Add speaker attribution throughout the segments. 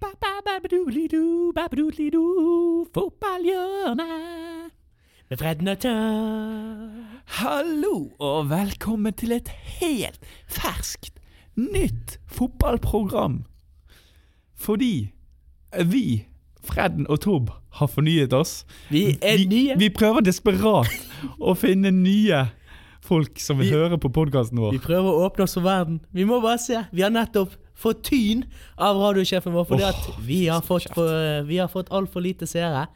Speaker 1: ba, ba, ba, doodly-doo, ba, ba, doodly-doo, Fotballhjørnet med Fred Nøtter.
Speaker 2: Hallo og velkommen til et helt ferskt, nytt fotballprogram. Fordi vi, Fredden og Tob, har fornyet oss.
Speaker 1: Vi er nye.
Speaker 2: Vi prøver desperat å finne nye folk som vil
Speaker 1: Vi-
Speaker 2: høre på podkasten vår.
Speaker 1: Vi prøver å åpne oss for verden. Vi må bare se. Vi har nettopp fått tyn av radiosjefen vår fordi
Speaker 2: Åh,
Speaker 1: at vi har fått, for, eh, vi har fått altfor lite seere.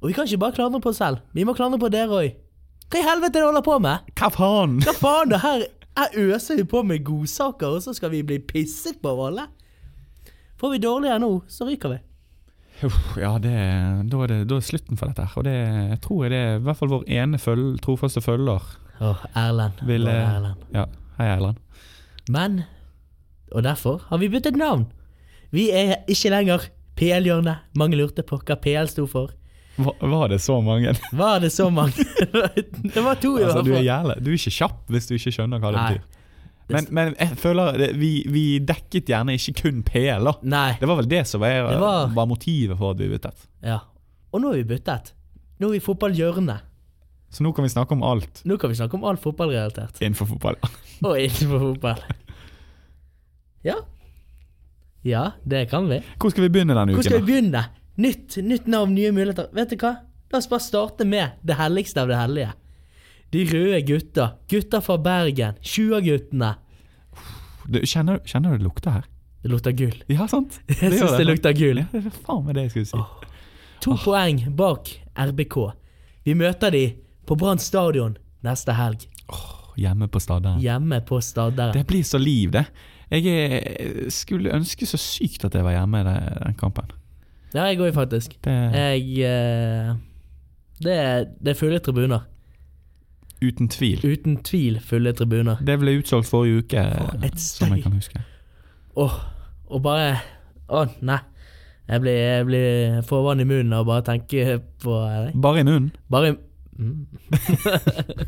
Speaker 1: Og vi kan ikke bare klandre på oss selv. Vi må klandre på dere òg. Hva i helvete er det du holder på med?
Speaker 2: Hva faen?
Speaker 1: Hva faen, det her, her øser vi på med godsaker, og så skal vi bli pisset på av alle? Får vi dårligere nå, så ryker vi.
Speaker 2: Uff, ja, det, da, er det, da er slutten for dette her. Og det jeg tror jeg det er i hvert fall vår ene føl, trofaste følger
Speaker 1: Åh, Erlend.
Speaker 2: vil
Speaker 1: Åh,
Speaker 2: eh,
Speaker 1: Erlend.
Speaker 2: Ja, hei Erlend.
Speaker 1: Men, og derfor har vi byttet navn. Vi er ikke lenger PL-hjørnet. Mange lurte på hva PL sto for.
Speaker 2: Hva- Var det så mange?
Speaker 1: Var det så mange? det var to
Speaker 2: Altså,
Speaker 1: i hvert
Speaker 2: du er
Speaker 1: fall.
Speaker 2: jævla Du er ikke kjapp hvis du ikke skjønner hva det
Speaker 1: Nei.
Speaker 2: betyr. Men, men jeg føler det, vi, vi dekket gjerne ikke kun PL, da.
Speaker 1: Nei.
Speaker 2: Det var vel det som var,
Speaker 1: Det var-
Speaker 2: var motivet for at vi byttet.
Speaker 1: Ja. Og nå har vi byttet. Nå er vi fotballhjørnet.
Speaker 2: Så nå kan vi snakke om alt
Speaker 1: Nå kan vi snakke om alt fotballrelatert.
Speaker 2: innenfor fotball.
Speaker 1: Og innenfor fotball. Ja. Ja, det kan vi.
Speaker 2: Hvor skal vi begynne denne
Speaker 1: Hvor
Speaker 2: uken?
Speaker 1: skal vi
Speaker 2: da?
Speaker 1: begynne? Nytt, nytt navn, nye muligheter. Vet du hva? La oss bare starte med det helligste av det hellige. De røde gutta. Gutta fra Bergen. 20-guttene.
Speaker 2: Du, kjenner, kjenner du det lukter her?
Speaker 1: Det lukter gull.
Speaker 2: Ja, sant?
Speaker 1: Jeg syns det lukter gull.
Speaker 2: Ja, Ah. det er faen meg det jeg skulle si.
Speaker 1: To poeng bak RBK. Vi møter de på Brann stadion neste helg.
Speaker 2: Hjemme på Stadern.
Speaker 1: Hjemme på Stadderen.
Speaker 2: Det blir så liv, det. Jeg eh, skulle ønske så sykt at jeg var hjemme i den den kampen.
Speaker 1: Ja, jeg går jo faktisk.
Speaker 2: Det,
Speaker 1: Jeg eh, det, er, det er fulle tribuner. Eh.
Speaker 2: uten tvil.
Speaker 1: Uten tvil fulle tribuner.
Speaker 2: Det ble utsolgt forrige uke, eh,
Speaker 1: For et
Speaker 2: som
Speaker 1: steik.
Speaker 2: jeg kan huske.
Speaker 1: Åh, og bare Å, nei. Jeg blir, jeg blir får vann i munnen av bare å tenke på deg.
Speaker 2: Bare i munnen.
Speaker 1: Bare i- mm.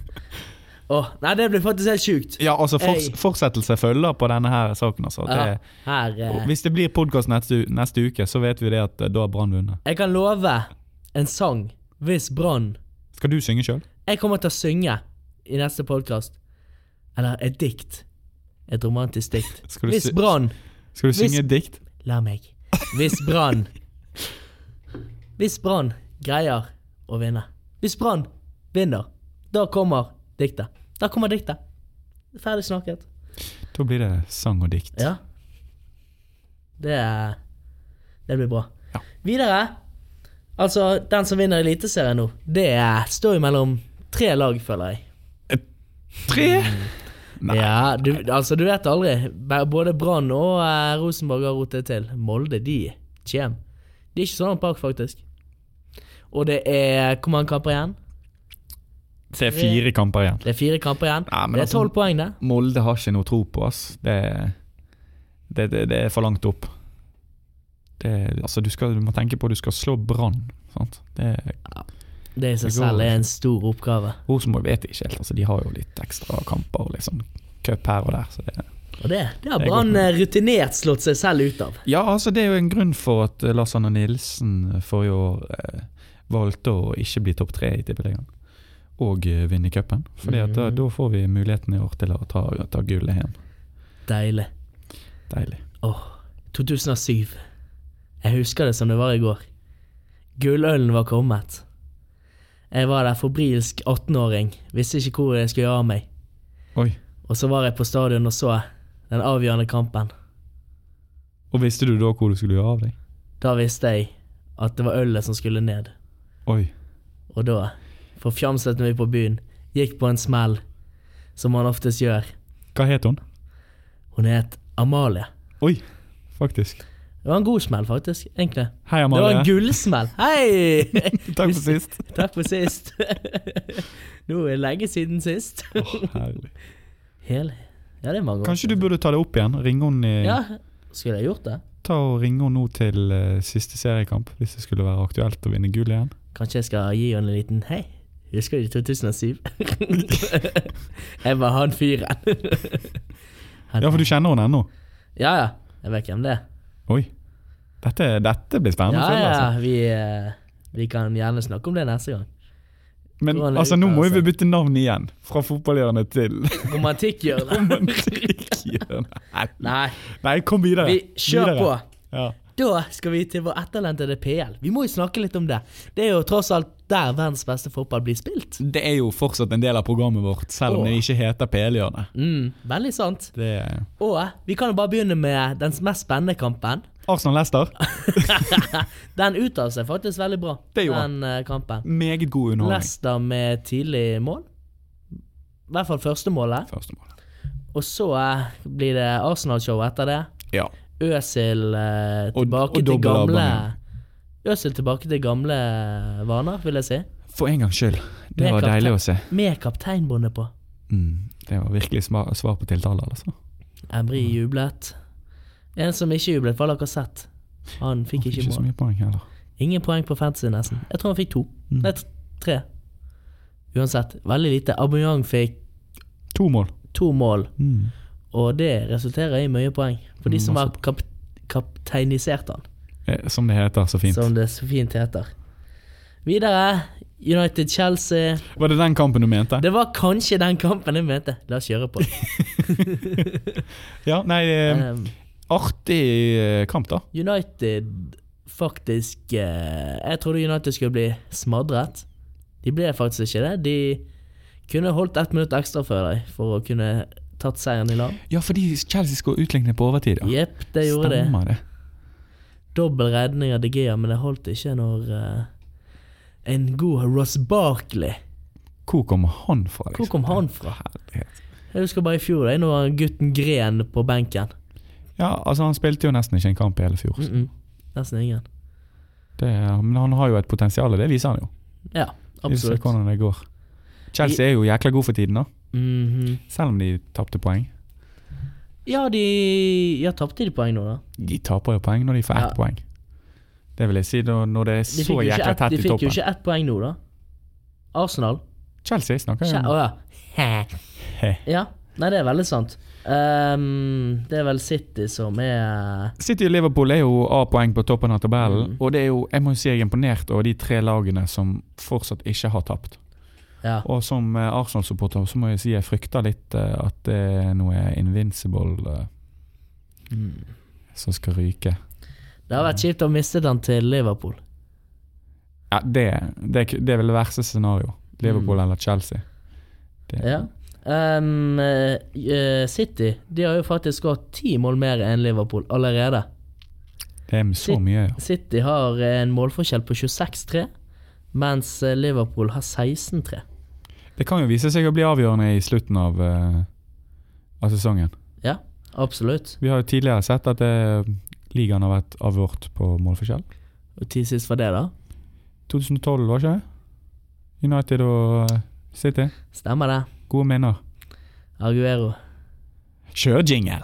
Speaker 1: Åh, nei, det blir faktisk helt sjukt.
Speaker 2: Ja, altså forts
Speaker 1: Hey.
Speaker 2: fortsettelse følger på denne her saken. Altså.
Speaker 1: Ja,
Speaker 2: Det,
Speaker 1: her eh,
Speaker 2: og hvis det blir podkast neste, u- neste uke, så vet vi det at eh, da har Brann vunnet.
Speaker 1: Jeg kan love en sang hvis Brann
Speaker 2: Skal du synge sjøl?
Speaker 1: Jeg kommer til å synge i neste podkast. Eller et dikt. Et romantisk dikt.
Speaker 2: Skal du
Speaker 1: Hvis
Speaker 2: sy-
Speaker 1: Brann
Speaker 2: Skal du
Speaker 1: Hvis-
Speaker 2: synge et dikt?
Speaker 1: La meg. Hvis Brann Hvis Brann greier å vinne. Hvis Brann vinner, da kommer diktet. Da kommer diktet. Ferdig snakket.
Speaker 2: Da blir det sang og dikt.
Speaker 1: Ja. Det er- Det blir bra.
Speaker 2: Ja.
Speaker 1: Videre Altså, den som vinner Eliteserien nå, det er- står jo mellom tre lag, føler jeg.
Speaker 2: Tre! Nei.
Speaker 1: Ja, du, altså, du vet aldri. Ba- Både Brann og eh, Rosenborg har rotet til. Molde, de kommer. De er ikke så langt bak, faktisk. Og det er Hvor mange kamper igjen?
Speaker 2: Det er fire kamper igjen.
Speaker 1: Det er fire kamper igjen.
Speaker 2: Nei, men
Speaker 1: det er
Speaker 2: altså-
Speaker 1: tolv poeng, det.
Speaker 2: Molde har ikke noe tro på oss. Det, det, det, det er for langt opp. Det, altså, du, skal, du må tenke på at du skal slå Brann. sant? Det,
Speaker 1: Det i seg
Speaker 2: Det går
Speaker 1: selv er
Speaker 2: ikke.
Speaker 1: en stor oppgave.
Speaker 2: Rosenborg vet ikke helt. Altså, de har jo litt ekstra kamper og litt sånn cup her og der. Så det,
Speaker 1: Og det, det har
Speaker 2: Det er
Speaker 1: Brann
Speaker 2: godt
Speaker 1: eh, rutinert slått seg selv ut av.
Speaker 2: Ja, altså det er jo en grunn for at eh, Lars Anne Nilsen forrige år eh, valgte å ikke bli topp tre i Tippeligaen. Og eh, vinne cupen. For da, da får vi muligheten i år til å ta, ta gullet hjem.
Speaker 1: Deilig.
Speaker 2: Deilig.
Speaker 1: Åh, 2007. Jeg husker det som det var i går. Gullølen var kommet. Jeg var der forbrilsk 18-åring, visste ikke hvor jeg skulle gjøre av meg.
Speaker 2: Oi.
Speaker 1: Og så var jeg på stadion og så den avgjørende kampen.
Speaker 2: Og visste du da hvor du skulle gjøre av deg?
Speaker 1: Da visste jeg at det var ølet som skulle ned.
Speaker 2: Oi.
Speaker 1: Og da forfjamset vi på byen, gikk på en smell, som man oftest gjør.
Speaker 2: Hva het hun?
Speaker 1: Hun het Amalie.
Speaker 2: Oi, faktisk.
Speaker 1: Det var en god smell, faktisk. egentlig.
Speaker 2: Hei,
Speaker 1: Det var en
Speaker 2: Amalie.
Speaker 1: gullsmell. Hei!
Speaker 2: Takk for sist.
Speaker 1: Takk for sist. Nå er det lenge siden sist.
Speaker 2: Åh, herlig.
Speaker 1: Hele Ja, det er mange år.
Speaker 2: Kanskje du burde ta det opp igjen? Ringe hun i,
Speaker 1: Ja, skulle jeg gjort det?
Speaker 2: Ta og ringe hun nå til eh, siste seriekamp, hvis det skulle være aktuelt å vinne gull igjen.
Speaker 1: Kanskje jeg skal gi henne en liten hei. Husker du 2007? jeg var han fyren. Han-
Speaker 2: Ja, for du kjenner hun ennå?
Speaker 1: ja, ja. Jeg vet hvem det er.
Speaker 2: Oi. Dette, dette blir spennende. å
Speaker 1: Ja,
Speaker 2: følge,
Speaker 1: ja,
Speaker 2: altså.
Speaker 1: vi, eh, vi kan gjerne snakke om det neste gang.
Speaker 2: Men
Speaker 1: Hvordan er
Speaker 2: altså, nå må jo vi
Speaker 1: uttalelsen?
Speaker 2: bytte navn igjen. Fra fotballhjørnet til
Speaker 1: Romantikkhjørnet.
Speaker 2: romantikkhjørnet. Nei.
Speaker 1: Nei,
Speaker 2: Nei, kom videre.
Speaker 1: vi kjør
Speaker 2: Videre.
Speaker 1: på.
Speaker 2: Ja.
Speaker 1: Da skal vi til vår etterlentede PL. Vi må jo snakke litt om det. Det er jo tross alt der verdens beste fotball blir spilt.
Speaker 2: Det er jo fortsatt en del av programmet vårt, selv om
Speaker 1: Åh.
Speaker 2: det ikke heter PL-hjørnet.
Speaker 1: Mm, veldig sant.
Speaker 2: Det er
Speaker 1: Og vi kan jo bare begynne med den mest spennende kampen.
Speaker 2: Arsenal-Lester.
Speaker 1: Den uttalte seg faktisk veldig bra,
Speaker 2: Det gjorde
Speaker 1: den eh, kampen.
Speaker 2: Meget god underholdning.
Speaker 1: Leicester med tidlig mål. I hvert fall første målet.
Speaker 2: Første mål.
Speaker 1: Og så eh, blir det Arsenal-show etter det.
Speaker 2: Ja.
Speaker 1: Øsil eh,
Speaker 2: Og-
Speaker 1: tilbake
Speaker 2: og
Speaker 1: til
Speaker 2: dobbel
Speaker 1: gamle
Speaker 2: Aubameyang.
Speaker 1: Øsil tilbake til gamle eh, vaner, vil jeg si.
Speaker 2: For en gangs skyld. Det
Speaker 1: Med
Speaker 2: var
Speaker 1: kaptein.
Speaker 2: deilig å se.
Speaker 1: Med kapteinbåndet på.
Speaker 2: Mm, det var virkelig sma- svar på tiltale, altså.
Speaker 1: Emry jublet. En som ikke jublet, var Lacassette. Han fikk ikke
Speaker 2: så
Speaker 1: mål.
Speaker 2: mye poeng heller.
Speaker 1: Ingen poeng på fantasy, nesten. Jeg tror han fikk to.
Speaker 2: Mm.
Speaker 1: Nei, t- tre. Uansett, veldig lite. Aubameyang fikk
Speaker 2: To mål.
Speaker 1: to mål,
Speaker 2: Mm.
Speaker 1: og det resulterer i mye poeng for de
Speaker 2: Mm,
Speaker 1: som har kap kapteinisert han,
Speaker 2: Eh, Som det heter så fint.
Speaker 1: som det så fint heter. Videre, United-Chelsea.
Speaker 2: Var det den kampen du mente?
Speaker 1: Det var kanskje den kampen jeg mente. La oss kjøre på.
Speaker 2: Ja, nei eh,
Speaker 1: Um,
Speaker 2: Artig eh, kamp, da.
Speaker 1: United faktisk eh, Jeg trodde United skulle bli smadret. De ble faktisk ikke det. De kunne holdt ett minutt ekstra før deg for å kunne tatt seieren i land.
Speaker 2: Ja, fordi Chelsea skal utligne på overtid. Ja.
Speaker 1: Jepp, det gjorde det.
Speaker 2: Stemmer det.
Speaker 1: Dobbel redning av De Gea, men det holdt ikke når eh, en god Ross Barkley
Speaker 2: Hvor kommer han fra?
Speaker 1: Hvor kom han fra?
Speaker 2: Herlighet.
Speaker 1: Jeg husker bare i fjor, da når gutten gren på benken.
Speaker 2: Ja, altså Han spilte jo nesten ikke en kamp i hele fjor.
Speaker 1: Mm -mm. Nesten ingen.
Speaker 2: Det, men han har jo et potensial, det viser han jo.
Speaker 1: Ja,
Speaker 2: Vi får se
Speaker 1: absolutt.
Speaker 2: hvordan det går. Chelsea er jo jækla god for tiden, da.
Speaker 1: Mhm.
Speaker 2: Selv om de tapte poeng.
Speaker 1: Ja, de Ja, tapte de poeng nå, da?
Speaker 2: De taper jo poeng når de får ett
Speaker 1: Ja.
Speaker 2: poeng. Det vil jeg si da, når det er
Speaker 1: De
Speaker 2: så
Speaker 1: fikk, jo ikke,
Speaker 2: jækla
Speaker 1: ett,
Speaker 2: tett
Speaker 1: de
Speaker 2: i
Speaker 1: fikk jo
Speaker 2: toppen.
Speaker 1: ikke ett poeng nå, da. Arsenal.
Speaker 2: Chelsea snakker
Speaker 1: Kjæ-
Speaker 2: jo om
Speaker 1: Å ja. ja. Nei, det er veldig sant. Ehm, det er vel City som er
Speaker 2: City og Liverpool er jo A-poeng på toppen av
Speaker 1: Mm.
Speaker 2: tabellen. Og det er jo, jeg må jo si jeg er imponert over de tre lagene som fortsatt ikke har tapt.
Speaker 1: Ja.
Speaker 2: Og som eh, Arsenal-supporter så må jeg si jeg frykter litt eh, at det er noe invincible eh, Mm. som skal ryke.
Speaker 1: Det har vært kjipt å miste den til Liverpool.
Speaker 2: Ja, det, det, er k- det er vel det verste scenario. Liverpool eller Chelsea. Det,
Speaker 1: Mm. Ja. Ehm, eh, City de har jo faktisk gått ti mål mer enn Liverpool allerede.
Speaker 2: det er så
Speaker 1: Sit-
Speaker 2: mye. ja.
Speaker 1: City har en målforskjell på 26-3, mens eh, Liverpool har 16-3.
Speaker 2: Det kan jo vise seg å bli avgjørende i slutten av, eh, av sesongen.
Speaker 1: Ja, absolutt.
Speaker 2: Vi har jo tidligere sett at eh, ligaen har vært avgjort på målforskjell.
Speaker 1: Og ti sist var det, da?
Speaker 2: 2012, var ikke det? United og eh, City.
Speaker 1: Stemmer det.
Speaker 2: Gode minner.
Speaker 1: Arguero.
Speaker 2: Kjør jingle!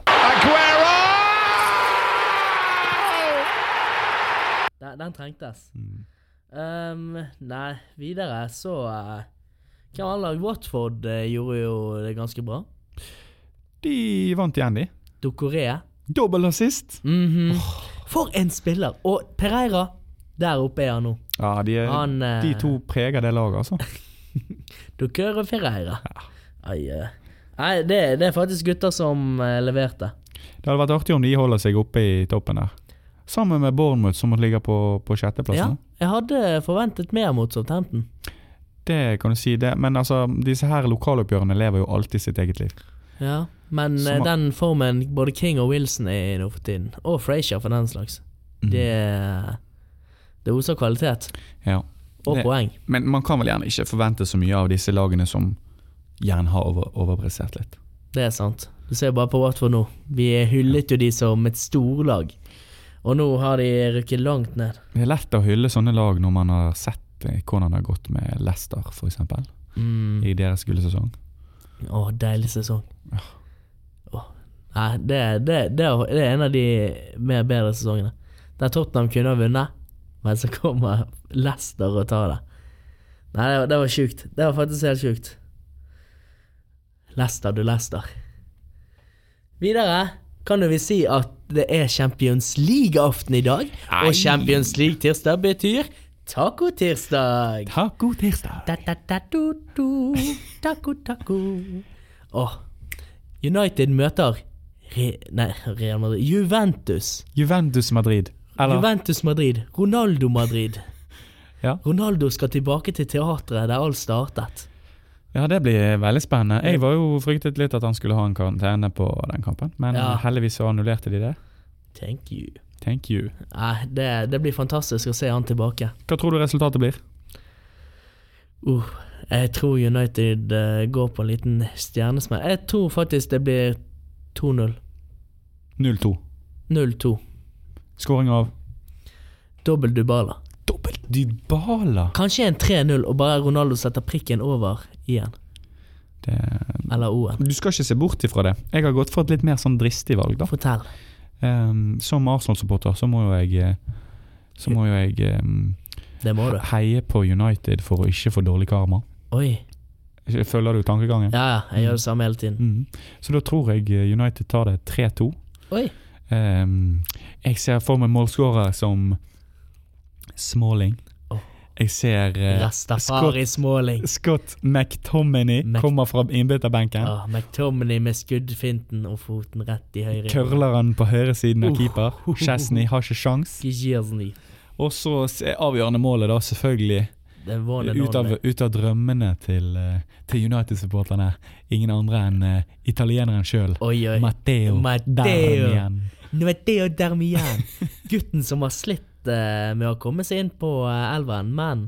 Speaker 1: Den, den trengtes. Ehm, nei, videre så uh, Hvem annet lag? Watford eh, gjorde jo det ganske bra.
Speaker 2: De vant igjen, de.
Speaker 1: Dokoré.
Speaker 2: Dobbel assist.
Speaker 1: Mhm. For en spiller! Og Pereira, der oppe er han nå.
Speaker 2: Ja, de, er,
Speaker 1: Han eh,
Speaker 2: de to preger det laget, altså.
Speaker 1: Doucouré og Pereira. Ai, eh. Nei, det, det er faktisk gutter som eh, leverte.
Speaker 2: Det hadde vært artig om de holder seg oppe i toppen der. Sammen med Bournemouth, som ligger på, på sjetteplass
Speaker 1: Ja,
Speaker 2: nå.
Speaker 1: jeg hadde forventet mer mot Southampton.
Speaker 2: Det kan du si, det. Men altså, disse her lokaloppgjørene lever jo alltid sitt eget liv.
Speaker 1: Ja, men eh,
Speaker 2: Som-
Speaker 1: den formen både King og Wilson er i nå for tiden, og Frazier for den slags,
Speaker 2: Mm.
Speaker 1: det, det oser kvalitet.
Speaker 2: Ja.
Speaker 1: Og
Speaker 2: Det-
Speaker 1: poeng.
Speaker 2: Men man kan vel gjerne ikke forvente så mye av disse lagene som gjerne har over, overprestert litt.
Speaker 1: Det er sant. Du ser bare på Watford nå. Vi hyllet jo de som et storlag. Og nå har de rykket langt ned.
Speaker 2: Det er lett å hylle sånne lag når man har sett eh, hvordan det har gått med Leicester, f.eks.,
Speaker 1: Mm.
Speaker 2: i deres gullsesong.
Speaker 1: Å, deilig sesong. Åh. Nei, det, det, det, er- det er en av de mer bedre sesongene. Der Tottenham kunne ha vunnet, men så kommer Leicester og tar det. Nei, det, var- det var sjukt. Det var faktisk helt sjukt. Leicester, du Leicester. Videre kan jo vi si at det er Champions League-aften i dag.
Speaker 2: Nei.
Speaker 1: Og Champions League-tirsdag betyr taco-tirsdag.
Speaker 2: Ha god tirsdag!
Speaker 1: Ta-ta-ta-tu-tu, taco-taco. Åh. United møter Re nei, Real Madrid. Juventus.
Speaker 2: Juventus Madrid. Eller
Speaker 1: Juventus Madrid. Ronaldo Madrid.
Speaker 2: Ja.
Speaker 1: Ronaldo skal tilbake til teatret der alt startet.
Speaker 2: Ja, det blir veldig spennende. Jeg var jo fryktet litt at han skulle ha en karantene på den kampen, men
Speaker 1: Ja.
Speaker 2: heldigvis så annullerte de det.
Speaker 1: Thank you.
Speaker 2: Thank you.
Speaker 1: Nei, det, det blir fantastisk å se han tilbake.
Speaker 2: Hva tror du resultatet blir?
Speaker 1: Uh, jeg tror United eh, går på en liten stjernesmell. Jeg tror faktisk det blir 2-0.
Speaker 2: 0-2.
Speaker 1: 0-2.
Speaker 2: Skåring av
Speaker 1: Dobbel Dubala.
Speaker 2: dobbelt Dybala.
Speaker 1: Kanskje en 3-0 og bare Ronaldo setter prikken over igjen.
Speaker 2: Det,
Speaker 1: Eller O-en.
Speaker 2: du skal ikke se bort ifra det. Jeg har gått for et litt mer sånn dristig valg, da.
Speaker 1: Fortell.
Speaker 2: Ehm, som Arsenal-supporter så må jo jeg eh, Så må jo jeg ehm,
Speaker 1: Det må du.
Speaker 2: heie på United for å ikke få dårlig karma.
Speaker 1: Oi.
Speaker 2: Følger du tankegangen?
Speaker 1: Ja, ja. Jeg gjør det samme hele tiden.
Speaker 2: Mhm. Så da tror jeg eh, United tar det 3-2.
Speaker 1: Oi.
Speaker 2: Ehm, jeg ser for meg målskårere som Smalling.
Speaker 1: Åh.
Speaker 2: Jeg ser eh,
Speaker 1: Rastafari Smalling.
Speaker 2: Scott McTominay
Speaker 1: Mc-
Speaker 2: kommer fra innbytterbenken.
Speaker 1: Ah, McTominay med skuddfinten og foten rett i høyre.
Speaker 2: Curler han på høyresiden av
Speaker 1: Uh.
Speaker 2: keeper. Chesney har ikke sjans.
Speaker 1: Gjersny.
Speaker 2: Og så se- avgjørende målet, da, selvfølgelig.
Speaker 1: Det var det
Speaker 2: Ut av,
Speaker 1: navnet.
Speaker 2: ut av drømmene til, eh, til United-supporterne. Ingen andre enn eh, italieneren sjøl.
Speaker 1: Oi, oi.
Speaker 2: Matteo,
Speaker 1: Matteo.
Speaker 2: Darmian.
Speaker 1: Nå er det jo Darmian, gutten som har slitt eh, med å komme seg inn på eh, elveren, men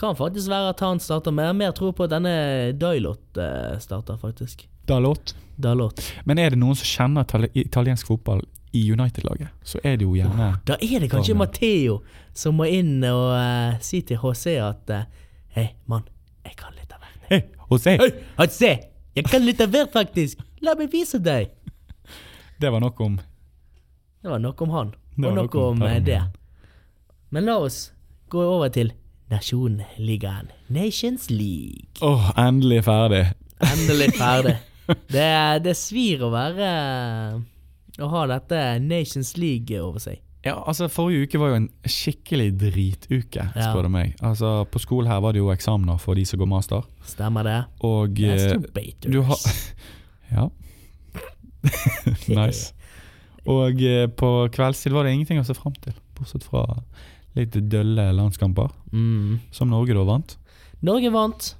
Speaker 1: kan faktisk være at han starter med. Jeg har mer tro på at denne Dailot eh, starter, faktisk.
Speaker 2: Dalot.
Speaker 1: Dalot.
Speaker 2: Men er det noen som kjenner itali italiensk fotball i United-laget, så er det jo gjerne
Speaker 1: Da er det kanskje
Speaker 2: Darmian.
Speaker 1: Matteo som må inn og eh, si til HC at eh, Hei, mann, jeg kan litt av hvert.
Speaker 2: Hei, Jose!
Speaker 1: Hei, HC! Jeg kan litt av hvert, faktisk! La meg vise deg!
Speaker 2: Det var nok om
Speaker 1: Det var nok om han,
Speaker 2: Det
Speaker 1: og
Speaker 2: var
Speaker 1: nok
Speaker 2: nok om
Speaker 1: om eh,
Speaker 2: Darmian.
Speaker 1: det. Men la oss gå over til Nasjonligaen. Nations League.
Speaker 2: Åh, endelig ferdig.
Speaker 1: Endelig ferdig. Det, det svir å være eh, Å ha dette Nations League over seg.
Speaker 2: Ja, altså Forrige uke var jo en skikkelig drituke,
Speaker 1: Ja.
Speaker 2: spør du meg. Altså, På skolen her var det jo eksamener for de som går master,
Speaker 1: Stemmer det?
Speaker 2: og eh,
Speaker 1: Masturbators.
Speaker 2: du har Ja. nice. Og eh, på kveldstid var det ingenting å se fram til, bortsett fra litt dølle landskamper,
Speaker 1: Mm.
Speaker 2: som Norge da vant.
Speaker 1: Norge vant,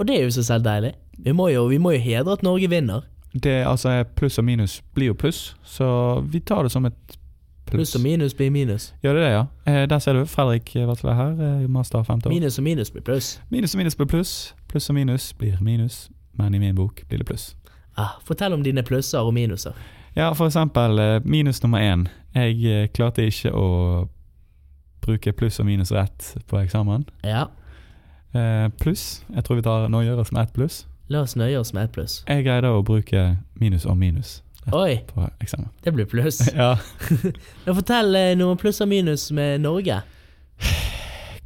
Speaker 1: og det er jo så selv deilig. Vi må jo, vi må jo hedre at Norge vinner.
Speaker 2: Det altså er pluss og minus blir jo pluss, så vi tar det som et pluss.
Speaker 1: Pluss og minus blir minus.
Speaker 2: Ja, det er det, ja. Eh, der ser du Fredrik Vatle her, eh, master femte år.
Speaker 1: Minus og minus blir pluss.
Speaker 2: Minus og minus blir pluss, pluss og minus blir minus, men i min bok blir det pluss.
Speaker 1: Ah, fortell om dine plusser og minuser.
Speaker 2: Ja, for eksempel eh, minus nummer én. Jeg eh, klarte ikke å bruke pluss og minus rett på eksamen.
Speaker 1: Ja,
Speaker 2: Eh, pluss. Jeg tror vi tar nå gjør oss med ett pluss.
Speaker 1: la oss nøye oss med ett pluss.
Speaker 2: Jeg greide å bruke minus og minus
Speaker 1: Oi,
Speaker 2: på eksamen.
Speaker 1: det blir pluss.
Speaker 2: Ja.
Speaker 1: Men fortell eh, noen pluss og minus med Norge.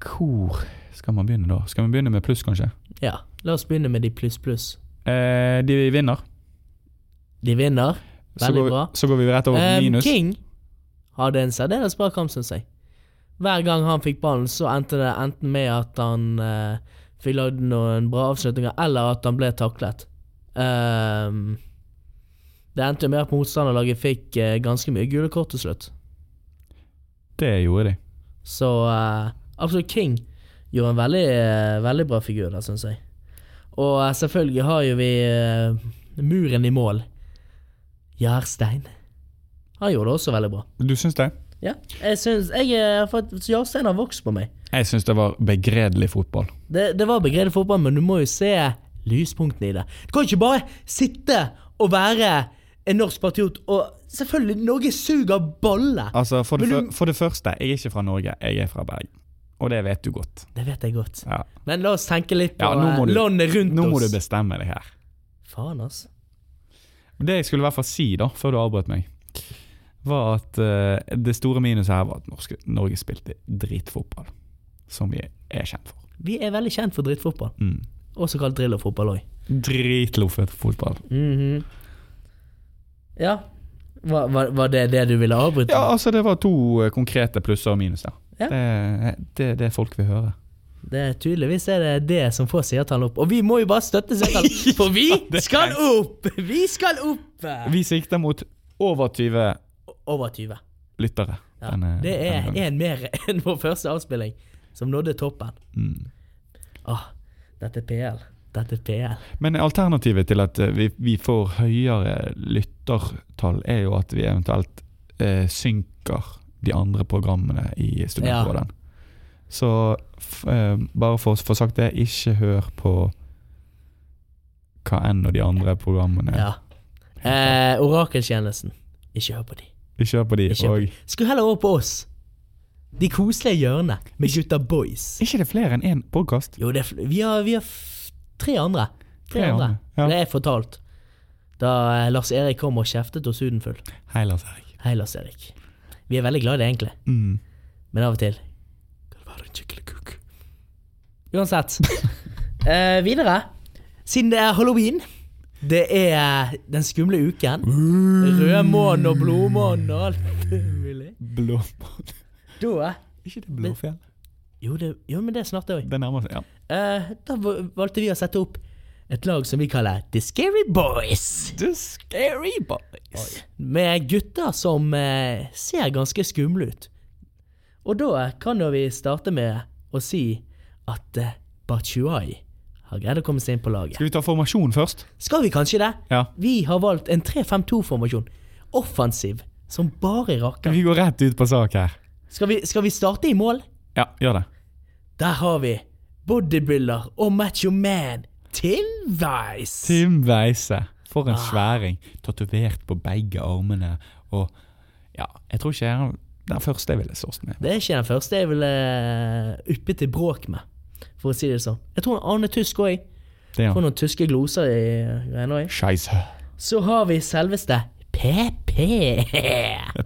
Speaker 2: Hvor skal man begynne da? Skal vi begynne med pluss, kanskje?
Speaker 1: Ja, la oss begynne med de pluss-pluss.
Speaker 2: Eh, de vinner.
Speaker 1: De vinner.
Speaker 2: Så
Speaker 1: Veldig
Speaker 2: går,
Speaker 1: bra.
Speaker 2: vi, så går vi rett over
Speaker 1: Eh,
Speaker 2: til Ehm, minus.
Speaker 1: King hadde en særdeles bra kamp, syns jeg. Hver gang han fikk ballen, så endte det enten med at han eh, fikk lagd noen bra avslutninger, eller at han ble taklet. Ehm, det endte jo med at motstanderlaget fikk eh, ganske mye gule kort til slutt.
Speaker 2: Det gjorde de.
Speaker 1: Så eh, absolutt King gjorde en veldig, eh, veldig bra figur der, syns jeg. Og eh, selvfølgelig har jo vi eh, muren i mål. Jarstein. Han gjorde det også veldig bra.
Speaker 2: Du syns det?
Speaker 1: Ja, jeg syns jeg, eh, for at Jarstein har vokst på meg.
Speaker 2: Jeg syns det var begredelig fotball.
Speaker 1: Det, det var begredet fotball, men du må jo se lyspunktene i det. Du kan ikke bare sitte og være en norsk patriot, og selvfølgelig, Norge suger balle!
Speaker 2: Altså, for det,
Speaker 1: Men
Speaker 2: fyr- for det første, jeg er ikke fra Norge, jeg er fra Bergen. Og det vet du godt.
Speaker 1: Det vet jeg godt.
Speaker 2: Ja.
Speaker 1: Men la oss tenke litt på
Speaker 2: Ja, nå må
Speaker 1: eh,
Speaker 2: du-
Speaker 1: landet rundt
Speaker 2: Nå må du
Speaker 1: oss.
Speaker 2: bestemme deg her.
Speaker 1: Faen, altså.
Speaker 2: Det jeg skulle i hvert fall si, da, før du avbrøt meg, var at eh, det store minuset her var at norske, Norge spilte dritfotball. Som vi er kjent for.
Speaker 1: Vi er veldig kjent for drittfotball,
Speaker 2: Mm.
Speaker 1: også kalt drillerfotball òg.
Speaker 2: Dritloffet fotball.
Speaker 1: Ja. Var, var, var det det du ville avbryte?
Speaker 2: Ja, altså det var to eh, konkrete plusser og minus der.
Speaker 1: Ja.
Speaker 2: Det, det er det folk vil høre.
Speaker 1: Det er Tydeligvis er det det som får seertallet opp. Og vi må jo bare støtte seertallet, for vi
Speaker 2: det
Speaker 1: skal
Speaker 2: trengs.
Speaker 1: opp! Vi skal opp! eh,
Speaker 2: Vi sikter mot over 20
Speaker 1: Over 20.
Speaker 2: lyttere.
Speaker 1: Ja.
Speaker 2: denne-
Speaker 1: Det
Speaker 2: denne
Speaker 1: er
Speaker 2: gangen.
Speaker 1: én mer enn vår første avspilling, som nådde toppen.
Speaker 2: Mm.
Speaker 1: Åh, dette er PL. Dette er PL.
Speaker 2: Men alternativet til at eh, vi, vi får høyere lyttertall, er jo at vi eventuelt eh, synker de andre programmene i Studentråden. Så f, eh, bare for å få sagt det, ikke hør på hva enn og de andre programmene.
Speaker 1: Ja. Eh, Orakeltjenesten. Ikke hør på de.
Speaker 2: Ikke hør på de.
Speaker 1: Ikke hør på
Speaker 2: og
Speaker 1: Skulle heller over på oss. De koselige hjørnene med gutta boys.
Speaker 2: ikke det er flere enn én podkast.
Speaker 1: Jo, det er, fl- vi har, vi har f tre andre. Tre,
Speaker 2: Tre
Speaker 1: andre.
Speaker 2: andre, ja.
Speaker 1: Det er fortalt. Da eh, Lars-Erik kom og kjeftet oss huden full.
Speaker 2: Hei, Lars Erik.
Speaker 1: Hei, Lars-Erik. Vi er veldig glad i det, egentlig.
Speaker 2: Mm.
Speaker 1: Men av og til Kan det være en skikkelig kuk? Uansett. Eh, videre. Siden det er halloween, det er eh, den skumle uken. Rødmånen og blodmånen og alt mulig.
Speaker 2: Blåmann.
Speaker 1: Da
Speaker 2: Ikke det Blåfjell?
Speaker 1: Jo, det, jo men det er snart det òg.
Speaker 2: Det nærmer seg, ja.
Speaker 1: Eh, da v- valgte vi å sette opp et lag som vi kaller The Scary Boys.
Speaker 2: The Scary Boys.
Speaker 1: Med gutter som eh, ser ganske skumle ut. Og da kan jo vi starte med å si at eh, Batshuayi har greid å komme seg inn på laget.
Speaker 2: Skal vi ta formasjon først?
Speaker 1: Skal vi kanskje det?
Speaker 2: Ja.
Speaker 1: Vi har valgt en 3-5-2-formasjon. Offensiv, som bare rakker.
Speaker 2: Vi går rett ut på sak her.
Speaker 1: Skal vi, skal vi starte i mål?
Speaker 2: Ja, gjør det.
Speaker 1: Der har vi bodybuilder og macho man Tim Weiss.
Speaker 2: Tim Weise. For en sværing. Tatovert på begge armene. Og ja, jeg tror ikke jeg er den første jeg ville slåss med.
Speaker 1: Det er ikke den første jeg ville uppet til bråk med, for å si det sånn. Jeg tror Arne Tysk òg.
Speaker 2: Det er
Speaker 1: Får
Speaker 2: han.
Speaker 1: noen tyske gloser i greiene òg.
Speaker 2: Scheisse.
Speaker 1: Så har vi selveste PP.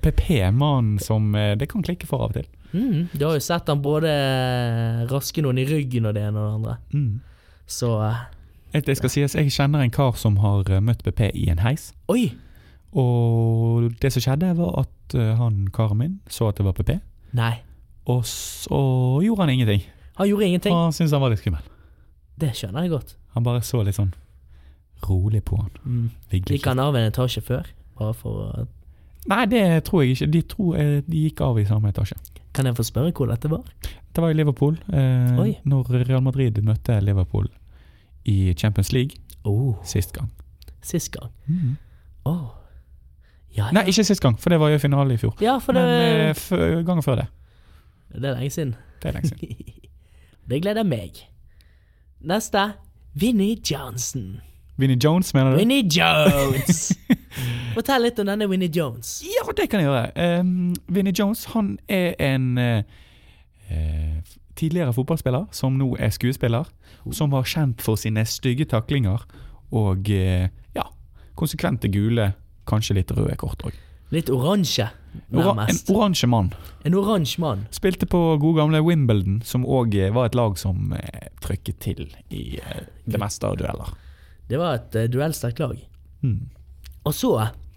Speaker 2: PP-mannen som eh, det kan klikke for av og til.
Speaker 1: Mm, du har jo sett han både raske noen i ryggen og det ene og det andre.
Speaker 2: Mm.
Speaker 1: Så eh,
Speaker 2: Jeg, det skal sies, jeg kjenner en kar som har eh, møtt PP i en heis.
Speaker 1: Oi!
Speaker 2: Og det som skjedde, var at eh, han karen min så at det var PP,
Speaker 1: Nei.
Speaker 2: og så gjorde han ingenting.
Speaker 1: Han gjorde ingenting.
Speaker 2: Han syntes han var litt skummel.
Speaker 1: Det skjønner jeg godt.
Speaker 2: Han bare så litt sånn rolig på han.
Speaker 1: Mm.
Speaker 2: Vigde
Speaker 1: Gikk han av en etasje før? Bare for å
Speaker 2: Nei, det tror jeg ikke. De tror eh, de gikk av i samme etasje.
Speaker 1: Kan jeg få spørre hvor dette var?
Speaker 2: Det var i Liverpool. Eh,
Speaker 1: Oi.
Speaker 2: når Real Madrid møtte Liverpool i Champions League
Speaker 1: Oh,
Speaker 2: sist gang.
Speaker 1: sist gang. Åh. Ah, Ja,
Speaker 2: Mm. Nei, ikke sist gang, for det var jo finale i fjor.
Speaker 1: ja, for det,
Speaker 2: Men eh, f- gangen før det.
Speaker 1: det er lenge siden.
Speaker 2: Det er lenge siden.
Speaker 1: Det gleder meg. Neste. Vinnie Johnson.
Speaker 2: Vinnie Jones, mener du?
Speaker 1: Winnie Jones! Fortell litt om denne Winnie Jones.
Speaker 2: Ja, det kan jeg gjøre. Um, Vinnie Jones han er en eh, eh, tidligere fotballspiller som nå er skuespiller. Som var kjent for sine stygge taklinger og eh, ja, konsekvente gule, kanskje litt røde kort òg.
Speaker 1: Litt oransje,
Speaker 2: Ora en
Speaker 1: nærmest.
Speaker 2: oransje mann.
Speaker 1: En oransje mann.
Speaker 2: Spilte på gode gamle Wimbledon, som òg var et lag som eh, trykket til i eh, det meste av dueller.
Speaker 1: Det var et uh, duellsterkt lag.
Speaker 2: Mm.
Speaker 1: Og så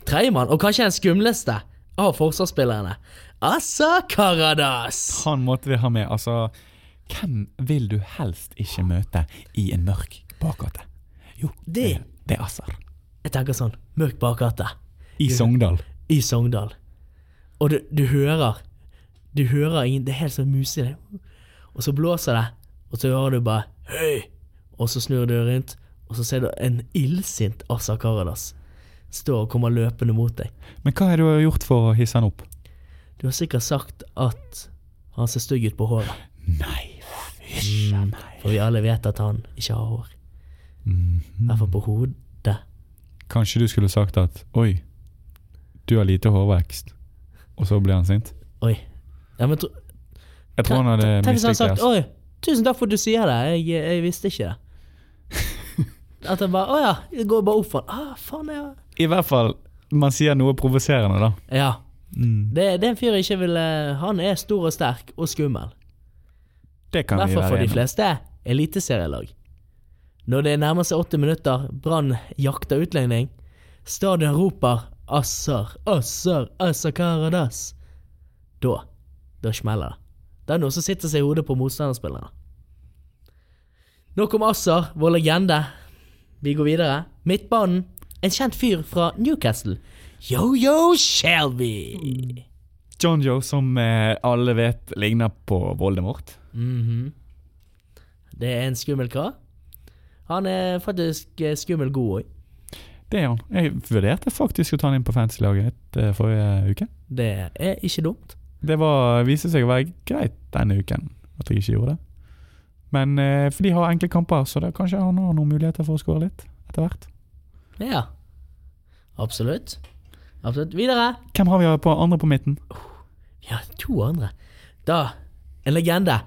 Speaker 1: tredjemann, og kanskje den skumleste av forsvarsspillerne. Assa Karadas!
Speaker 2: Han måtte vi ha med. Altså, hvem vil du helst ikke møte i en mørk bakgate? Jo,
Speaker 1: Det.
Speaker 2: det er Assar.
Speaker 1: Jeg tenker sånn, mørk bakgate
Speaker 2: I Sogndal.
Speaker 1: i Sogndal. Og du, du hører Du hører ingen Det er helt sånn musete. Og så blåser det, og så hører du bare Høy! Og så snur du rundt, og så ser du en illsint Assa Karadas stå og komme løpende mot deg.
Speaker 2: Men hva har du gjort for å hisse han opp?
Speaker 1: Du har sikkert sagt at han ser stygg ut på håret.
Speaker 2: Nei, fysj a meg.
Speaker 1: For vi alle vet at han ikke har hår. I hvert fall på hodet.
Speaker 2: Mhm. Kanskje du skulle sagt at oi, du har lite hårvekst. Og så ble han sint?
Speaker 1: Oi. Ja, men tro-
Speaker 2: Jeg tror han hadde
Speaker 1: Tenk hvis han
Speaker 2: mislikt det.
Speaker 1: sagt
Speaker 2: altså.
Speaker 1: Oi, tusen takk for at du sier det, jeg, jeg visste ikke det. At han bare Å ja. Det går bare opp for han. Ah, faen, ja.
Speaker 2: I hvert fall, man sier noe provoserende, da.
Speaker 1: Ja.
Speaker 2: Mm.
Speaker 1: Det, det er en fyr jeg ikke ville Han er stor og sterk og skummel.
Speaker 2: Det
Speaker 1: I
Speaker 2: kan
Speaker 1: hvert
Speaker 2: vi
Speaker 1: fall for
Speaker 2: være
Speaker 1: de
Speaker 2: enige om.
Speaker 1: fleste eliteserielag. Når det nærmer seg 80 minutter, Brann jakter utligning, stadion roper Assar, Assar, Assar Karadas. Da, da smeller det. Det er noe som sitter seg i hodet på motstanderspillerne. Nok om Assar, vår legende. Vi går videre. Midtbanen, en kjent fyr fra Newcastle. Yo-yo Shelby.
Speaker 2: John Joe, som eh, alle vet ligner på Voldemort.
Speaker 1: Mhm. Det er en skummel kar. Han er faktisk eh, skummel god òg.
Speaker 2: Det er han. Jeg vurderte faktisk å ta han inn på fantasy-laget mitt eh, forrige uke.
Speaker 1: Det er ikke dumt.
Speaker 2: Det var, viste seg å være greit denne uken at jeg ikke gjorde det. Men eh, for de har enkle kamper, så det, kanskje han har noen muligheter for å skåre litt etter hvert.
Speaker 1: Ja. Absolutt. Absolutt. Videre.
Speaker 2: Hvem har vi på andre på midten?
Speaker 1: Ja, to andre. Da, en legende.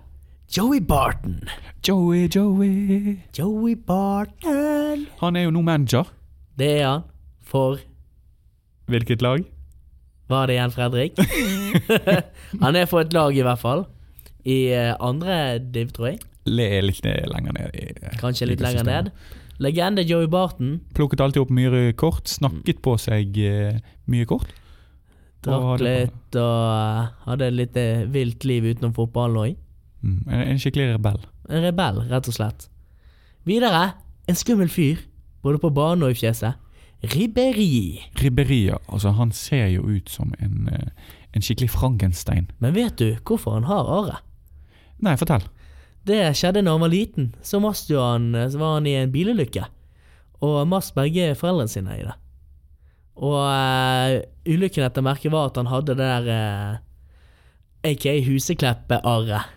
Speaker 1: Joey Barton.
Speaker 2: Joey, Joey.
Speaker 1: Joey Barton.
Speaker 2: Han er jo nå manager.
Speaker 1: Det er han. For
Speaker 2: Hvilket lag?
Speaker 1: Var det igjen Fredrik? han er for et lag, i hvert fall. I eh, andre div, tror jeg.
Speaker 2: Le, litt lenger ned. i, eh,
Speaker 1: Kanskje litt lenger
Speaker 2: ligasystemet.
Speaker 1: ned. Legende Joey Barton.
Speaker 2: Plukket alltid opp mye røde kort, snakket på seg eh, mye kort. Og
Speaker 1: Drakk
Speaker 2: hadde-
Speaker 1: litt og eh, hadde et litt eh, vilt liv utenom fotballen òg.
Speaker 2: Mm, en, en skikkelig rebell.
Speaker 1: En rebell, rett og slett. Videre, en skummel fyr. Både på banen og i fjeset. Ribberi.
Speaker 2: Ribberia, altså han ser jo ut som en, eh, en skikkelig Frankenstein.
Speaker 1: Men vet du hvorfor han har arret?
Speaker 2: Nei, fortell.
Speaker 1: Det skjedde når han var liten. Så mast jo han, så var han i en bilulykke. Og mast begge foreldrene sine i det. Og eh, ulykken etter merket var at han hadde det der eh, aka Husekleppe-arret.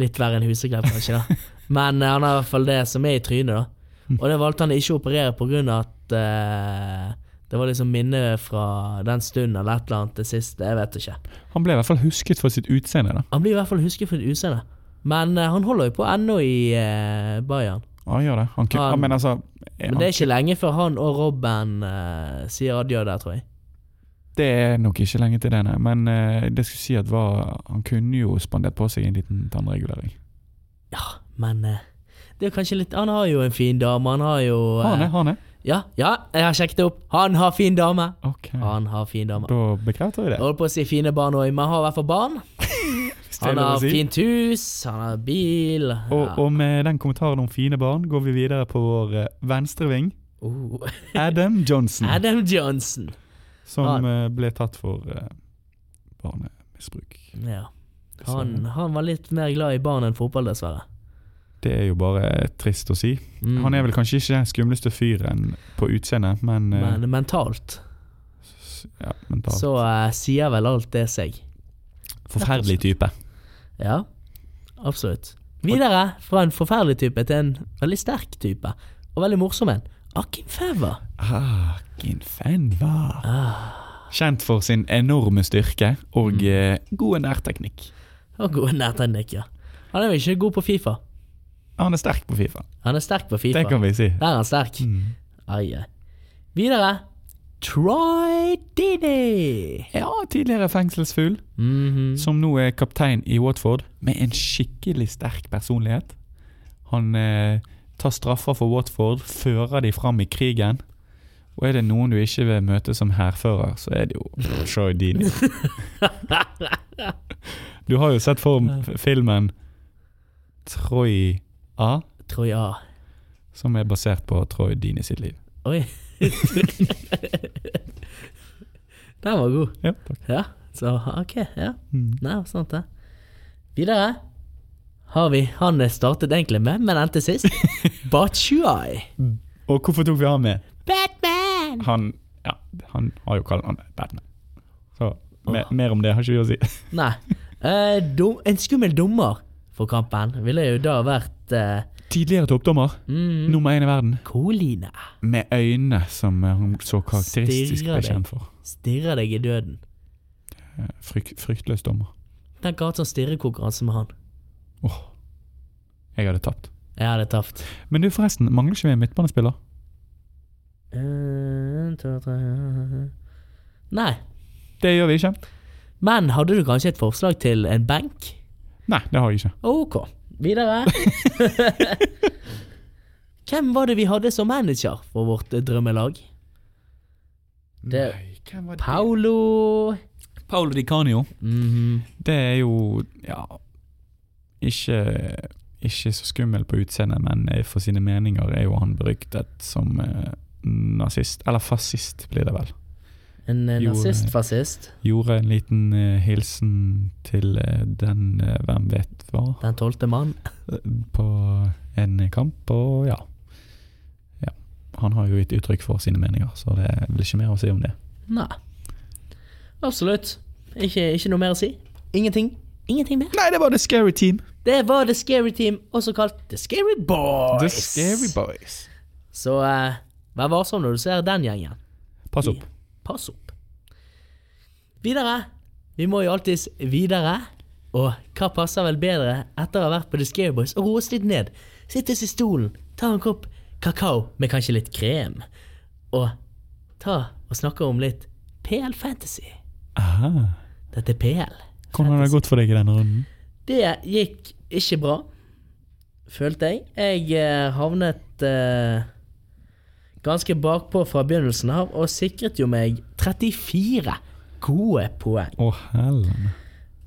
Speaker 1: Litt verre enn Huseklepp, kanskje, da. Men eh, han har i hvert fall det som er i trynet, da. Og det valgte han ikke å operere på grunn av at eh, det var liksom minne fra den stunden eller et eller annet det siste. Jeg vet ikke.
Speaker 2: Han ble i hvert fall husket for sitt utseende. da.
Speaker 1: Han blir i hvert fall husket for et utseende. Men eh, han holder jo på ennå i eh, Bayern.
Speaker 2: Ja, han gjør det. Han, kun-
Speaker 1: Han-
Speaker 2: ja, men altså, eh, han,
Speaker 1: Men det
Speaker 2: det,
Speaker 1: er ikke lenge før han og Robben eh, sier adjø der, tror jeg.
Speaker 2: er nok ikke lenge til det, nei. Men eh, det skulle si at var, han kunne jo spandert på seg en liten tannregulering.
Speaker 1: Ja, men eh, det er jo kanskje litt Han har jo en fin dame, han har jo eh,
Speaker 2: Har han det? Har han det?
Speaker 1: Ja, ja, jeg har sjekket det opp. Han har fin dame!
Speaker 2: Ok,
Speaker 1: Han har fin dame.
Speaker 2: da bekrefter vi
Speaker 1: Jeg
Speaker 2: det.
Speaker 1: holder på å si fine barn òg, men han har i hvert fall barn.
Speaker 2: hvis det er
Speaker 1: Han
Speaker 2: lov å
Speaker 1: har
Speaker 2: si.
Speaker 1: fint hus, han har bil ja.
Speaker 2: og, og med den kommentaren om fine barn går vi videre på vår eh, venstreving.
Speaker 1: Oh.
Speaker 2: Adam Johnson,
Speaker 1: Uh, Adam Johnson.
Speaker 2: som eh, ble tatt for eh, barnemisbruk.
Speaker 1: Ja.
Speaker 2: Så-
Speaker 1: Han, han var litt mer glad i barn enn fotball, dessverre.
Speaker 2: Det er jo bare trist å si.
Speaker 1: Mm.
Speaker 2: Han er vel kanskje ikke den skumleste fyren på utseendet, men, eh,
Speaker 1: Men mentalt
Speaker 2: s- ja, mentalt.
Speaker 1: så eh, sier vel alt det seg.
Speaker 2: Forferdelig type.
Speaker 1: Ja, absolutt. Videre fra en forferdelig type til en veldig sterk type, og veldig morsom en. Akim Fever.
Speaker 2: Akin Fenva. Kjent for sin enorme styrke og eh, god nærteknikk.
Speaker 1: Og god nærteknikk, ja. Han er jo ikke god på Fifa.
Speaker 2: Han er sterk på Fifa,
Speaker 1: Han er sterk på Fifa.
Speaker 2: det kan vi si.
Speaker 1: Der er han sterk. Ai, ai. Videre Troy Dini.
Speaker 2: Ja, tidligere fengselsfugl,
Speaker 1: Mhm.
Speaker 2: som nå er kaptein i Watford, med en skikkelig sterk personlighet. Han eh, tar straffer for Watford, fører de fram i krigen. Og er det noen du ikke vil møte som hærfører, så er det jo Troy Dini. Du har jo sett for f- filmen Troy A,
Speaker 1: Troy A.
Speaker 2: som er basert på Troy Dini sitt liv.
Speaker 1: Oi. Den var god.
Speaker 2: Ja, takk.
Speaker 1: Ja, så ok, ja. Nei, sant det. Videre har vi han jeg startet egentlig med, men endte sist. Bachuai.
Speaker 2: Og hvorfor tok vi han med?
Speaker 1: Batman!
Speaker 2: Han, ja, han har jo kalt han Batman. Så me, mer om det har ikke vi å si.
Speaker 1: Nei. Eh, dum, en skummel dommer for kampen ville jo da vært eh,
Speaker 2: Tidligere toppdommer,
Speaker 1: mm,
Speaker 2: nummer én i verden.
Speaker 1: Coline.
Speaker 2: Med øynene som eh, han så karakteristisk ble
Speaker 1: Stirrer deg.
Speaker 2: kjent for.
Speaker 1: Stirrer deg i døden.
Speaker 2: Eh, Fryk, fryktløs dommer.
Speaker 1: Tenk å ha hatt sånn stirrekonkurranse med han.
Speaker 2: Åh, jeg hadde tapt.
Speaker 1: Jeg hadde tapt.
Speaker 2: Men du forresten, mangler ikke vi en midtbanespiller?
Speaker 1: En, to, tre Nei.
Speaker 2: Det gjør vi ikke.
Speaker 1: Men hadde du kanskje et forslag til en benk?
Speaker 2: Nei, det har jeg ikke.
Speaker 1: Ok, videre. Hvem var det vi hadde som manager for vårt eh, drømmelag? Det er
Speaker 2: Nei, hvem var det?
Speaker 1: Paolo
Speaker 2: Paolo Di Canio.
Speaker 1: Mhm.
Speaker 2: Det er jo ja, ikke, ikke så skummel på utseendet, men eh, for sine meninger er jo han beryktet som eh, nazist. Eller fascist, blir det vel.
Speaker 1: En eh,
Speaker 2: Jo,
Speaker 1: nazist-fascist.
Speaker 2: Gjorde en liten eh, hilsen til eh, den eh, hvem vet hva
Speaker 1: Den tolvte mann.
Speaker 2: på en kamp, og ja. ja. Han har jo gitt uttrykk for sine meninger, så det er vel ikke mer å si om det.
Speaker 1: Nei. Absolutt. Ikke, ikke noe mer å si. Ingenting. Ingenting mer.
Speaker 2: Nei, det var The Scary Team.
Speaker 1: Det var The Scary Team, også kalt The Scary Boys.
Speaker 2: The Scary Boys.
Speaker 1: Så eh, vær varsom når du ser den gjengen.
Speaker 2: Pass opp.
Speaker 1: Pass opp. Videre. Vi må jo alltids videre. Og hva passer vel bedre etter å ha vært på The Scary Boys og roes litt ned? Sittes i stolen, ta en kopp kakao med kanskje litt krem, og ta og snakke om litt PL Fantasy.
Speaker 2: Aha.
Speaker 1: Dette er PL.
Speaker 2: Hvordan har det gått for deg i denne runden?
Speaker 1: Det gikk ikke bra, følte jeg. Jeg eh, havnet eh, ganske bakpå fra begynnelsen av, og sikret jo meg 34 gode poeng.
Speaker 2: Å, hellene.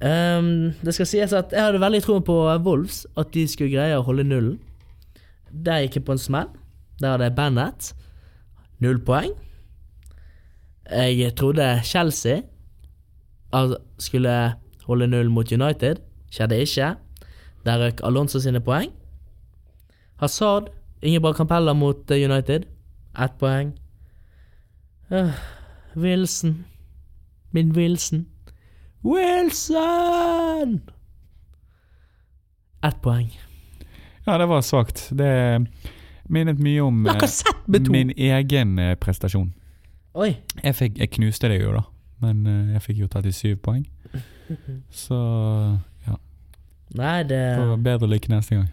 Speaker 1: Ehm, det skal sies at jeg hadde veldig troen på Wolves, at de skulle greie å holde nullen. Der gikk jeg på en smell. Der hadde jeg Bennett. Null poeng. Jeg trodde Chelsea al- skulle holde null mot United. Skjedde ikke. Der røk Alonso sine poeng. Hazard, Ingeborg Campella mot eh, United. Ett poeng. Øh, Wilson. Min Wilson. Wilson! Ett poeng.
Speaker 2: Ja, det var svakt. Det minnet mye om eh,
Speaker 1: Lacassette med to!
Speaker 2: min egen eh, prestasjon.
Speaker 1: Oi.
Speaker 2: Jeg, fikk, jeg knuste det jo, da, men eh, jeg fikk jo 37 poeng. Så ja,
Speaker 1: Nei, det,
Speaker 2: det var bedre lykke neste gang.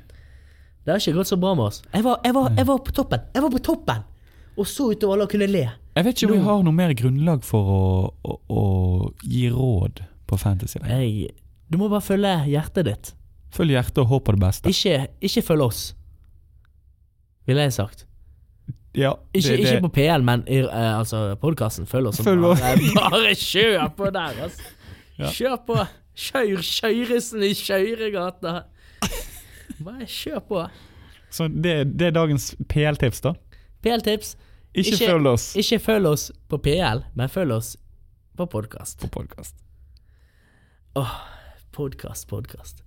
Speaker 1: det har ikke gått så bra med oss. Jeg var, jeg, var, jeg var på toppen! Jeg var på toppen! Og så utover alle og kunne le.
Speaker 2: Jeg vet ikke om vi har noe mer grunnlag for å, å, å gi råd på Fantasy. lenger.
Speaker 1: Jeg, du må bare følge hjertet ditt.
Speaker 2: Følg hjertet og håp på det beste.
Speaker 1: Ikke, ikke følg oss, ville jeg sagt.
Speaker 2: Ja, det,
Speaker 1: Ikke,
Speaker 2: det,
Speaker 1: ikke på PL, men i eh, altså, podkasten. Følg oss. som
Speaker 2: Følg oss.
Speaker 1: faen. Nei, Bare kjør på der, altså.
Speaker 2: Ja.
Speaker 1: Kjør på. Kjør Kjøyresen i Kjøyregata. Bare kjør på.
Speaker 2: så det, det er dagens PL-tips, da.
Speaker 1: PL-tips.
Speaker 2: Ikke,
Speaker 1: Ikke-
Speaker 2: følg oss
Speaker 1: Ikke følg oss på PL, men følg oss på podkast.
Speaker 2: på podkast.
Speaker 1: Podkast, podkast.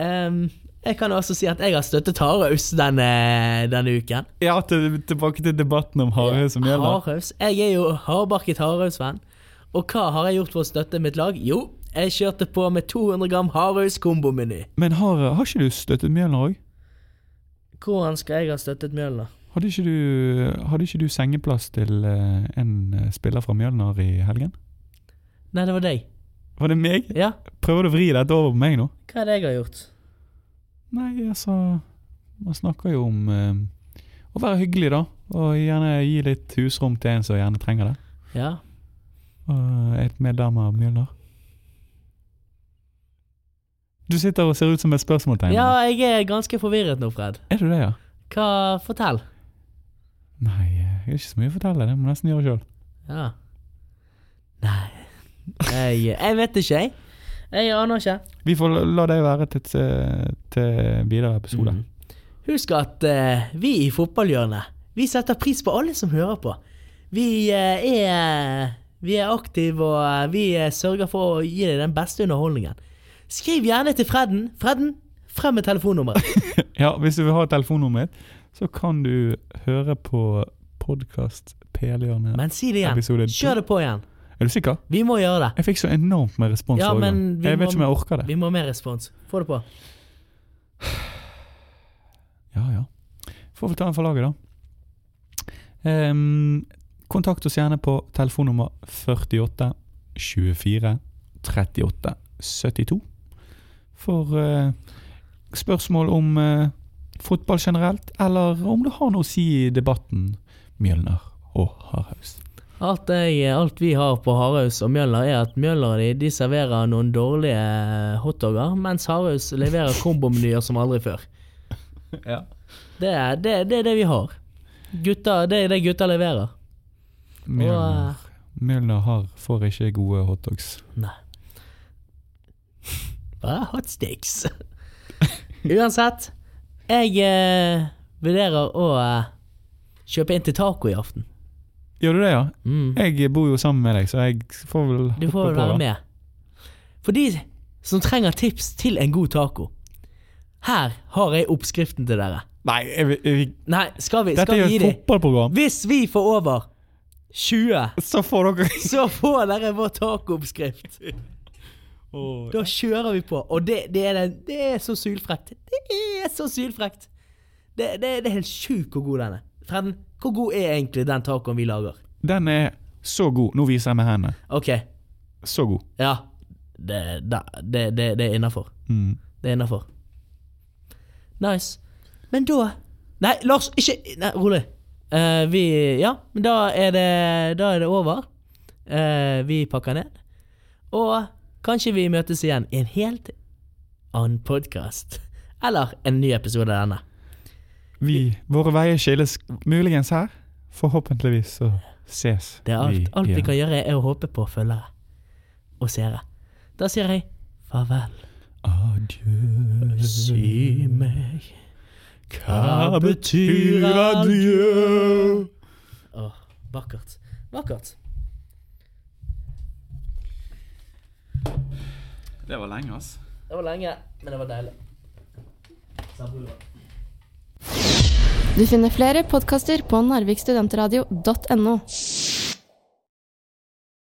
Speaker 1: Ehm, jeg kan også si at jeg har støttet Haraus denne, denne uken.
Speaker 2: Ja, til, tilbake til debatten om hare som gjelder.
Speaker 1: Haraus. Jeg er jo hardbarket Haraus-venn. Og hva har jeg gjort for å støtte mitt lag? Jo, jeg kjørte på med 200 gram Haraus kombomeny.
Speaker 2: Men hare, har ikke du støttet Mjølner òg?
Speaker 1: Hvordan skal jeg ha støttet Mjølner?
Speaker 2: Hadde ikke, du, hadde ikke du sengeplass til eh, en eh, spiller fra Mjølner i helgen?
Speaker 1: Nei, det var deg.
Speaker 2: Var det meg?
Speaker 1: Ja,
Speaker 2: Prøver du å vri dette over på meg nå?
Speaker 1: hva er det jeg har gjort?
Speaker 2: Nei, altså Man snakker jo om eh, å være hyggelig, da. Og gjerne gi litt husrom til en som gjerne trenger det.
Speaker 1: Ja,
Speaker 2: Og et medlem av Mjølner. Du sitter og ser ut som et spørsmålstegn.
Speaker 1: ja jeg er ganske forvirret nå, Fred.
Speaker 2: Er du det, ja?
Speaker 1: Hva Fortell.
Speaker 2: Nei, jeg har ikke så mye å fortelle. Det må jeg nesten gjøre sjøl.
Speaker 1: Ja. Nei Jeg, jeg vet ikke, jeg. Jeg aner ikke.
Speaker 2: Vi får la- la det være til, til, til videre episode.
Speaker 1: Mhm. Husk at eh, vi i fotballhjørnet Vi setter pris på alle som hører på. Vi eh, er Vi er aktive, og eh, vi eh, sørger for å gi deg den beste underholdningen. Skriv gjerne til Fredden. Fredden, frem med telefonnummeret.
Speaker 2: Ja, hvis du vil ha telefonnummeret mitt, så kan du høre på podkast PL-hjørnet.
Speaker 1: Men si det igjen.
Speaker 2: Episode to.
Speaker 1: Kjør det på igjen.
Speaker 2: Er du sikker?
Speaker 1: Vi må gjøre det.
Speaker 2: Jeg fikk så enormt med respons.
Speaker 1: Ja,
Speaker 2: forrige
Speaker 1: men
Speaker 2: gang.
Speaker 1: vi
Speaker 2: jeg
Speaker 1: må-
Speaker 2: vet ikke om jeg orker det.
Speaker 1: Vi må ha mer respons. Få det på.
Speaker 2: Ja, ja. Får vi ta en for laget, da. Ehm, kontakt oss gjerne på telefonnummer 48 24 38 72 for eh, spørsmål om eh, fotball generelt, eller om det har noe å si i debatten Mjølner og Hardhaus.
Speaker 1: Alt, jeg, alt vi har på Haraus og Mjøller, er at Mjøller de, de serverer noen dårlige eh, hotdoger, mens Haraus leverer kombomenyer som aldri før.
Speaker 2: Ja.
Speaker 1: Det er det, det, er det vi har. Gutter, det er det gutter leverer.
Speaker 2: Mjølner,
Speaker 1: Og, eh,
Speaker 2: Mjølner har, får ikke gode hotdogs.
Speaker 1: Nei. Bare hot sticks. Uansett, jeg eh, vurderer å eh, kjøpe inn til taco i aften.
Speaker 2: Gjør du det, ja?
Speaker 1: Mm.
Speaker 2: Jeg bor jo sammen med deg, så jeg får vel
Speaker 1: Du får vel
Speaker 2: på, da.
Speaker 1: være med. For de som trenger tips til en god taco, her har jeg oppskriften til dere.
Speaker 2: Nei, jeg, vil- jeg, vil-
Speaker 1: Nei, skal vi,
Speaker 2: dette
Speaker 1: skal
Speaker 2: er
Speaker 1: vi
Speaker 2: jo
Speaker 1: gi
Speaker 2: et
Speaker 1: dem?
Speaker 2: fotballprogram.
Speaker 1: Hvis vi får over 20,
Speaker 2: Så får dere
Speaker 1: så får dere vår tacooppskrift.
Speaker 2: Åh.
Speaker 1: Da kjører vi på. Og det, det, er, den- det er så sylfrekt. Det er så sylfrekt. Det, det, det er helt sjukt hvor god den er. Fredden, hvor god er egentlig den tacoen vi lager?
Speaker 2: Den er så god. Nå viser jeg med hendene.
Speaker 1: OK,
Speaker 2: Så god.
Speaker 1: ja. Det, da- det, det, det er innafor.
Speaker 2: Mm.
Speaker 1: Det er innafor. Nice. Men da Nei, Lars, ikke Nei, rolig. Eh, vi Ja, men da er det, da er det over. Eh, vi pakker ned. Og kanskje vi møtes igjen i en helt annen podkast. Eller en ny episode av denne.
Speaker 2: Vi, våre veier skilles muligens her. Forhåpentligvis så ses
Speaker 1: Det er alt. Alt vi
Speaker 2: igjen.
Speaker 1: kan gjøre, er å håpe på følgere og seere. Da sier jeg farvel.
Speaker 2: Adjø.
Speaker 1: Si meg
Speaker 2: Hva betyr adjø?
Speaker 1: Åh, vakkert. Vakkert.
Speaker 2: Det var lenge, ass.
Speaker 1: Det var lenge, men det var deilig. Sambuer.
Speaker 3: Du finner flere podkaster på narvikstudentradio.no.